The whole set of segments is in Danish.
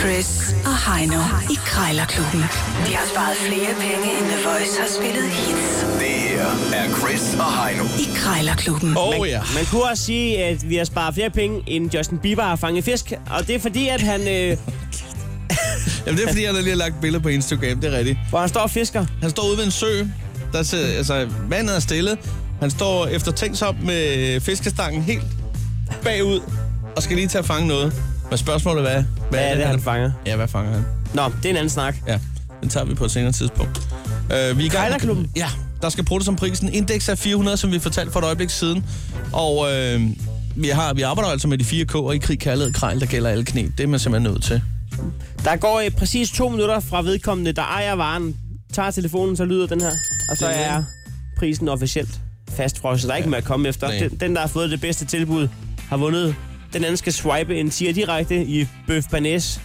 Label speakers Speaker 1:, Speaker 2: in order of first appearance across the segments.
Speaker 1: Chris og Heino i Krejlerklubben. De har sparet flere penge, end The Voice har spillet hits
Speaker 2: Det her er Chris og Heino.
Speaker 1: i Krejlerklubben.
Speaker 3: Oh ja.
Speaker 4: Man kunne også sige, at vi har sparet flere penge, end Justin Bieber har fanget fisk. Og det er fordi, at han, øh,
Speaker 3: Jamen, det er fordi, han lige har lagt billeder på Instagram, det er rigtigt.
Speaker 4: hvor han står og fisker.
Speaker 3: Han står ude ved en sø, der ser, altså, vandet er stille. Han står efter tænksom med fiskestangen helt bagud, og skal lige til at fange noget. Men spørgsmålet er, hvad, hvad
Speaker 4: er det, han fanger?
Speaker 3: Ja, hvad fanger han?
Speaker 4: Nå, det er en anden snak.
Speaker 3: Ja, den tager vi på et senere tidspunkt. Øh, vi er i gang-
Speaker 4: Krejlerklubben?
Speaker 3: Ja, der skal bruges som prisen. Indeks er 400, som vi fortalte for et øjeblik siden. Og øh, vi, har, vi arbejder altså med de fire K'er i krig, kærlighed, krejl, der gælder alle knep. Det er man simpelthen nødt til.
Speaker 4: Der går øh, præcis to minutter fra vedkommende, der ejer varen, tager telefonen, så lyder den her. Og så
Speaker 3: Det er
Speaker 4: er prisen officielt fastfrosset. Der er ikke mere at komme efter.
Speaker 3: Nej.
Speaker 4: Den, den, der har fået det bedste tilbud, har vundet. Den anden skal swipe en tier direkte i Bøf Banæs.
Speaker 3: Kassen,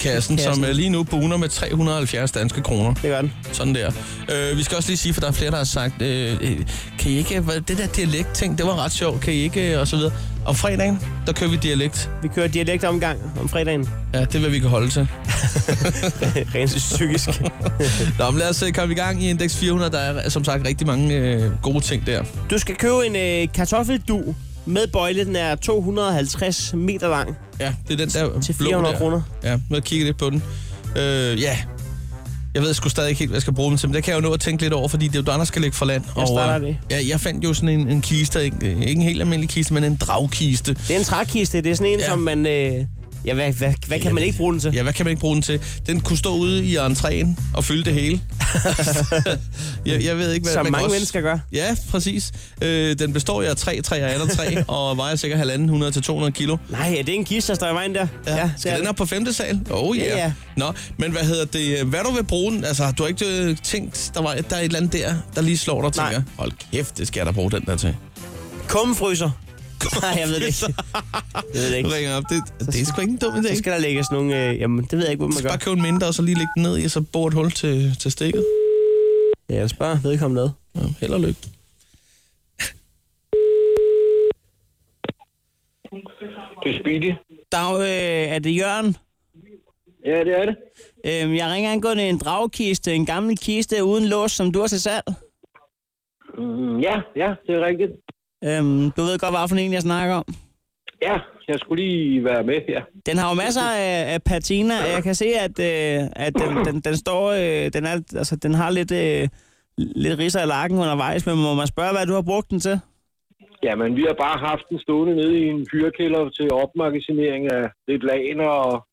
Speaker 3: Kassen. som
Speaker 4: Kassen.
Speaker 3: øh, lige nu buner med 370 danske kroner.
Speaker 4: Det gør den.
Speaker 3: Sådan der. Øh, vi skal også lige sige, for der er flere, der har sagt, øh, øh, kan I ikke, hvad, det der dialekt-ting, det var ret sjovt, kan I ikke, øh, og så videre. Om fredagen, der kører vi dialekt.
Speaker 4: Vi kører dialektomgang om fredagen.
Speaker 3: Ja, det er, hvad vi kan holde til.
Speaker 4: Rent psykisk.
Speaker 3: Nå, men lad os øh, komme i gang i Index 400. Der er som sagt rigtig mange øh, gode ting der.
Speaker 4: Du skal købe en øh, kartoffeldu med bøjle. Den er 250 meter lang.
Speaker 3: Ja, det er den der
Speaker 4: Til
Speaker 3: blå
Speaker 4: 400
Speaker 3: der.
Speaker 4: kroner.
Speaker 3: Ja, nu har jeg kigget lidt på den. Øh, ja, jeg ved sgu stadig ikke helt, hvad jeg skal bruge dem til, men det kan jeg jo nå at tænke lidt over, fordi det er jo der, der skal ligge for land. Jeg
Speaker 4: starter det.
Speaker 3: øh, Ja, jeg fandt jo sådan en, en kiste, ikke, ikke en helt almindelig kiste, men en dragkiste.
Speaker 4: Det er en trækiste. Det er sådan en,
Speaker 3: Ja.
Speaker 4: ja. som man... Øh, ja, hvad, hvad, hvad kan man ikke bruge den til?
Speaker 3: Ja, hvad kan man ikke bruge den til? Den kunne stå ude i entréen og fylde det hele. jeg, jeg ved ikke, hvad
Speaker 4: Som
Speaker 3: man kan
Speaker 4: mange
Speaker 3: også...
Speaker 4: mennesker gør.
Speaker 3: Ja, præcis. Øh, den består jo af træ, træ og andet træ, og vejer cirka 1.500-200 kilo.
Speaker 4: Nej, er det en kiste, der står i vejen der?
Speaker 3: Ja, ja
Speaker 4: det
Speaker 3: skal
Speaker 4: er
Speaker 3: den
Speaker 4: det.
Speaker 3: op på femte sal? Oh yeah.
Speaker 4: Ja,
Speaker 3: Ja,
Speaker 4: ja.
Speaker 3: Nå, men hvad hedder det? Hvad du vil bruge den? Altså, du har ikke øh, tænkt, der, var, der er et eller andet der, der lige slår dig og
Speaker 4: Nej.
Speaker 3: tænker, hold kæft, det skal jeg da bruge den der til.
Speaker 4: Kummefryser. Nej, jeg ved det ikke. Jeg ved det
Speaker 3: Du
Speaker 4: ikke.
Speaker 3: ringer op, det, det er sgu ikke en dum idé.
Speaker 4: Så
Speaker 3: Skal
Speaker 4: skal der lægges nogle... Øh, jamen, det ved jeg ikke, hvor man
Speaker 3: bare
Speaker 4: gør.
Speaker 3: købe en mindre, og så lige lægge den ned i, og så bore et hul til, til stikket.
Speaker 4: Ja, jeg spørger vedkommende ad.
Speaker 3: Ja, held og lykke.
Speaker 5: Det er Speedy.
Speaker 4: Dag, øh, er det Jørgen?
Speaker 5: Ja, det er det.
Speaker 4: Øh, jeg ringer angående en dragkiste, en gammel kiste uden lås, som du har til salg.
Speaker 5: Mm, ja, ja, det er rigtigt.
Speaker 4: Øhm, du ved godt, hvad for en jeg snakker om.
Speaker 5: Ja, jeg skulle lige være med, ja.
Speaker 4: Den har jo masser af, af patina, og jeg kan se, at, øh, at den, den, den står, øh, den, er, altså, den har lidt, øh, lidt ridser i lakken undervejs, men må man spørge, hvad du har brugt den til?
Speaker 5: Jamen, vi har bare haft den stående nede i en fyrekælder til opmagasinering af lidt laner og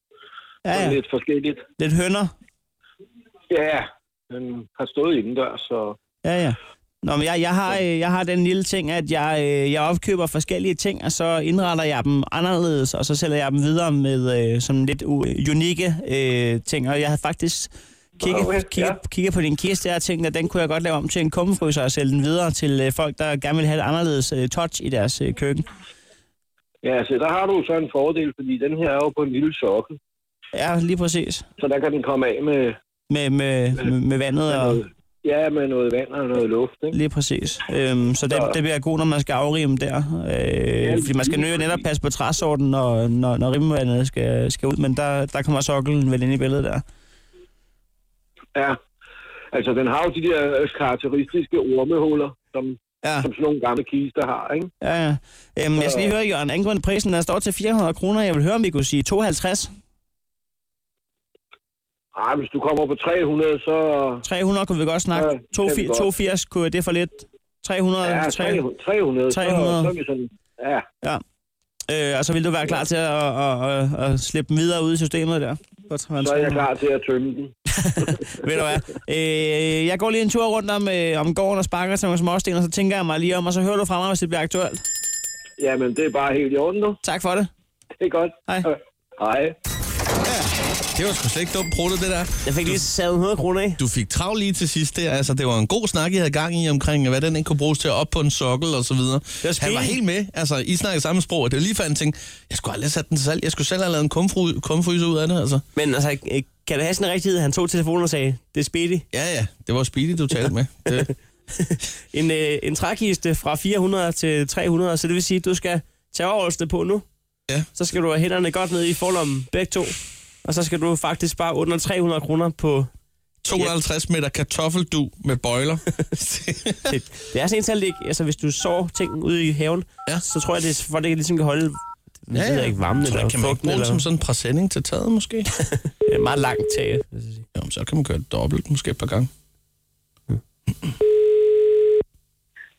Speaker 4: Ja,
Speaker 5: ja, ja.
Speaker 4: ja.
Speaker 5: lidt forskelligt.
Speaker 4: lidt hønder.
Speaker 5: Ja, den har stået indendørs, så...
Speaker 4: Ja, ja. Nå, men jeg, jeg, har, øh, jeg har den lille ting, at jeg, øh, jeg opkøber forskellige ting, og så indretter jeg dem anderledes, og så sælger jeg dem videre med øh, sådan lidt u- unikke øh, ting. Og jeg havde faktisk kigget,
Speaker 5: Okay,
Speaker 4: okay, kigget,
Speaker 5: ja.
Speaker 4: kigget på din kiste og tænkt, at den kunne jeg godt lave om til en kummefryser og sælge den videre til øh, folk, der gerne vil have et anderledes øh, touch i deres øh, køkken.
Speaker 5: Ja, så der har du så en fordel, fordi den her er jo på en lille sokkel,
Speaker 4: Ja, lige præcis.
Speaker 5: så der kan den komme af med,
Speaker 4: Med, med, med, med vandet
Speaker 5: med,
Speaker 4: og...
Speaker 5: noget, ja, med noget vand og noget luft, ikke?
Speaker 4: Lige præcis. Øhm, så det,
Speaker 5: Så-
Speaker 4: det bliver god, når man skal afrime der. Øh, fordi man skal nøje netop passe på træsorten, når, når, når rimvandet skal, skal ud. Men der, der kommer sokkelen vel ind i billedet der.
Speaker 5: Ja. Altså, den har jo de der øh, karakteristiske ormehuller, som,
Speaker 4: Ja.
Speaker 5: ja. som sådan nogle gamle kister har, ikke?
Speaker 4: Ja, ja. Øhm, jeg skal lige høre, Jørgen, angående prisen, der står til 400 kroner. Jeg vil høre, om vi kunne sige 52.
Speaker 5: Ah, hvis du kommer på 300, så...
Speaker 4: 300 kunne vi godt snakke.
Speaker 5: Ja, det kan
Speaker 4: 82,
Speaker 5: vi godt.
Speaker 4: 82 kunne det er for lidt. 300,
Speaker 5: Ja, 300,
Speaker 4: 300.
Speaker 5: 300, Så, så er vi sådan... Ja,
Speaker 4: Øh, og så vil du være klar til at, at, at, at slippe dem videre ud i systemet der. På
Speaker 5: så er jeg klar til at tømme den.
Speaker 4: Ved du hvad? Øh, jeg går lige en tur rundt om, øh, om gården og sparker til nogle småsten, og så tænker jeg mig lige om, og så hører du fra mig, hvis det bliver aktuelt.
Speaker 5: Jamen, det er bare helt i orden nu.
Speaker 4: Tak for det.
Speaker 5: Det er godt.
Speaker 4: Hej.
Speaker 5: Øh, Hej.
Speaker 3: Det var sgu slet ikke dumt pruttet, det der.
Speaker 4: Jeg fik lige sat 100 kroner af.
Speaker 3: Du fik travlt lige til sidst der. Altså, det var en god snak, I havde gang i omkring, hvad den ikke kunne bruges til at op på en sokkel og så videre.
Speaker 4: var
Speaker 3: Han var
Speaker 4: spændende.
Speaker 3: helt med. Altså, I snakkede samme sprog, og det var lige før, han tænkte, jeg skulle aldrig have sat den til salg. Jeg skulle selv have lavet en kumfry- kumfryser ud af det, altså.
Speaker 4: Men altså, øh, kan det have sådan en rigtighed? Han tog telefonen og sagde, det er speedy.
Speaker 3: Ja, ja. Det var Speedy, du talte med. Det.
Speaker 4: En, øh, en trækiste fra 400 til 300, så det vil sige, at du skal tage overholdsene på nu.
Speaker 3: Ja.
Speaker 4: Så skal du have hænderne godt ned i forlommen, begge to.
Speaker 6: Og så skal du faktisk spare 800-300 kroner på...
Speaker 3: 250 meter kartoffeldu med bøjler.
Speaker 6: Det, det er sådan en til at ligge... Altså, hvis du sår ting ude i haven,
Speaker 3: Ja.
Speaker 6: ja. så tror jeg, det er, for at det ligesom kan holde... Ja, ja. ikke varmen
Speaker 3: Så
Speaker 6: eller
Speaker 3: kan man ikke
Speaker 6: fugten
Speaker 3: bruge den
Speaker 6: eller...
Speaker 3: som sådan en præsending til taget, måske?
Speaker 6: Det er meget langt tag. vil jeg sige.
Speaker 3: Jamen, så kan man gøre det dobbelt, måske et par gange.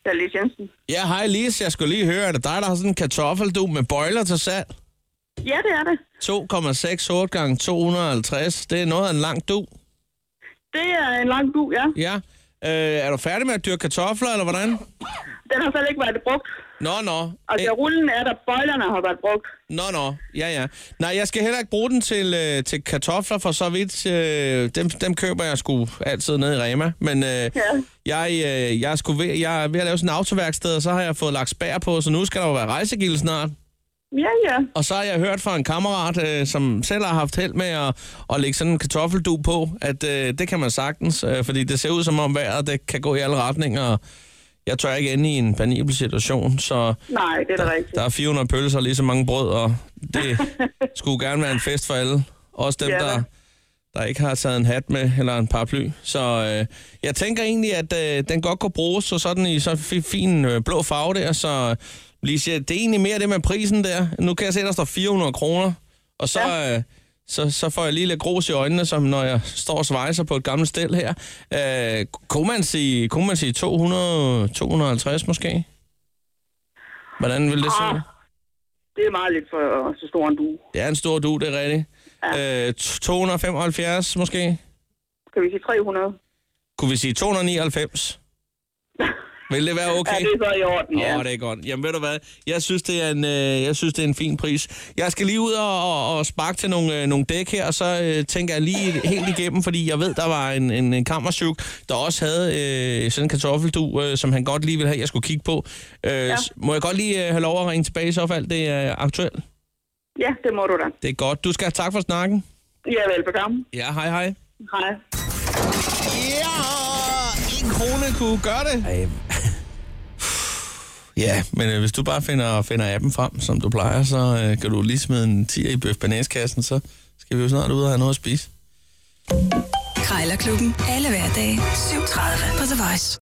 Speaker 7: Det er lidt Jensen.
Speaker 3: Ja, hej Lise, jeg skulle lige høre, er det dig, der har sådan en kartoffeldu med bøjler til salg?
Speaker 7: Ja, det er det.
Speaker 3: 2,6 sort gange 250, det er noget af en lang du.
Speaker 7: Det er en lang bu, ja.
Speaker 3: Ja. Øh, er du færdig med at dyrke kartofler, eller hvordan?
Speaker 7: Den har slet ikke været brugt.
Speaker 3: Nå, nå.
Speaker 7: Altså,
Speaker 3: Øh,
Speaker 7: rullen er der, bøjlerne har været brugt.
Speaker 3: Nå, nå. Ja, ja. Nej, jeg skal heller ikke bruge den til, øh, til kartofler, for så vidt. Øh, dem, dem køber jeg sgu altid nede i Rema. Men øh, ja. jeg, øh, jeg, er sgu ved, jeg er ved at lave sådan en autoværksted, og så har jeg fået lagt spær på, så nu skal der jo være rejsegild snart.
Speaker 7: Ja, ja.
Speaker 3: Og så har jeg hørt fra en kammerat, øh, som selv har haft held med at, at lægge sådan en kartoffeldu på, at øh, det kan man sagtens, øh, fordi det ser ud som om vejret det kan gå i alle retninger. og Jeg tør ikke ende i en panibel situation, så
Speaker 7: Nej, det er da rigtigt.
Speaker 3: der er 400 pølser og lige så mange brød, og det skulle gerne være en fest for alle. Også dem,
Speaker 7: Ja, da.
Speaker 3: der, der ikke har taget en hat med eller en paraply. Så øh, jeg tænker egentlig, at øh, den godt kunne bruges så sådan i så fi- fin øh, blå farve der. Så Lise, det er egentlig mere det med prisen der. Nu kan jeg se, at der står 400 kroner. Og så, ja. øh, så, så får jeg lige lidt grus i øjnene, som når jeg står og svejser på et gammelt stel her. Øh, kunne man sige, kunne man sige 200, 250 måske? Hvordan vil det se ud?
Speaker 7: Ah, det er meget lidt for øh, så stor en bu.
Speaker 3: Det er en stor du, det er rigtigt. Ja. Øh, 275 måske?
Speaker 7: Kan vi sige 300?
Speaker 3: Kunne vi sige 299? Vil det være okay?
Speaker 7: Ja, det er så i orden, ja.
Speaker 3: Åh, det er godt. Jamen ved du hvad, jeg synes, det er en, øh, jeg synes, det er en fin pris. Jeg skal lige ud og, og, og sparke til nogle, øh, nogle dæk her, og så øh, tænker jeg lige helt igennem, fordi jeg ved, der var en, en, en kammerchuk, der også havde øh, sådan en kartoffeldu, øh, som han godt lige ville have, jeg skulle kigge på. Øh, ja. Må jeg godt lige øh, have lov at ringe tilbage i så fald, det er aktuelt?
Speaker 7: Ja, det må du da.
Speaker 3: Det er godt. Du skal have tak for snakken.
Speaker 7: Ja, velbekomme.
Speaker 3: Ja, hej hej.
Speaker 7: Hej.
Speaker 3: Ja, en krone kunne gøre det.
Speaker 6: Ej,
Speaker 3: Ja, men øh, hvis du bare finder, finder appen frem, som du plejer, så øh, kan du lige smide en 10 i bøf kassen så skal vi jo snart ud og have noget at spise.
Speaker 1: Krejlerklubben. Alle hverdage. 7.30 på The Voice.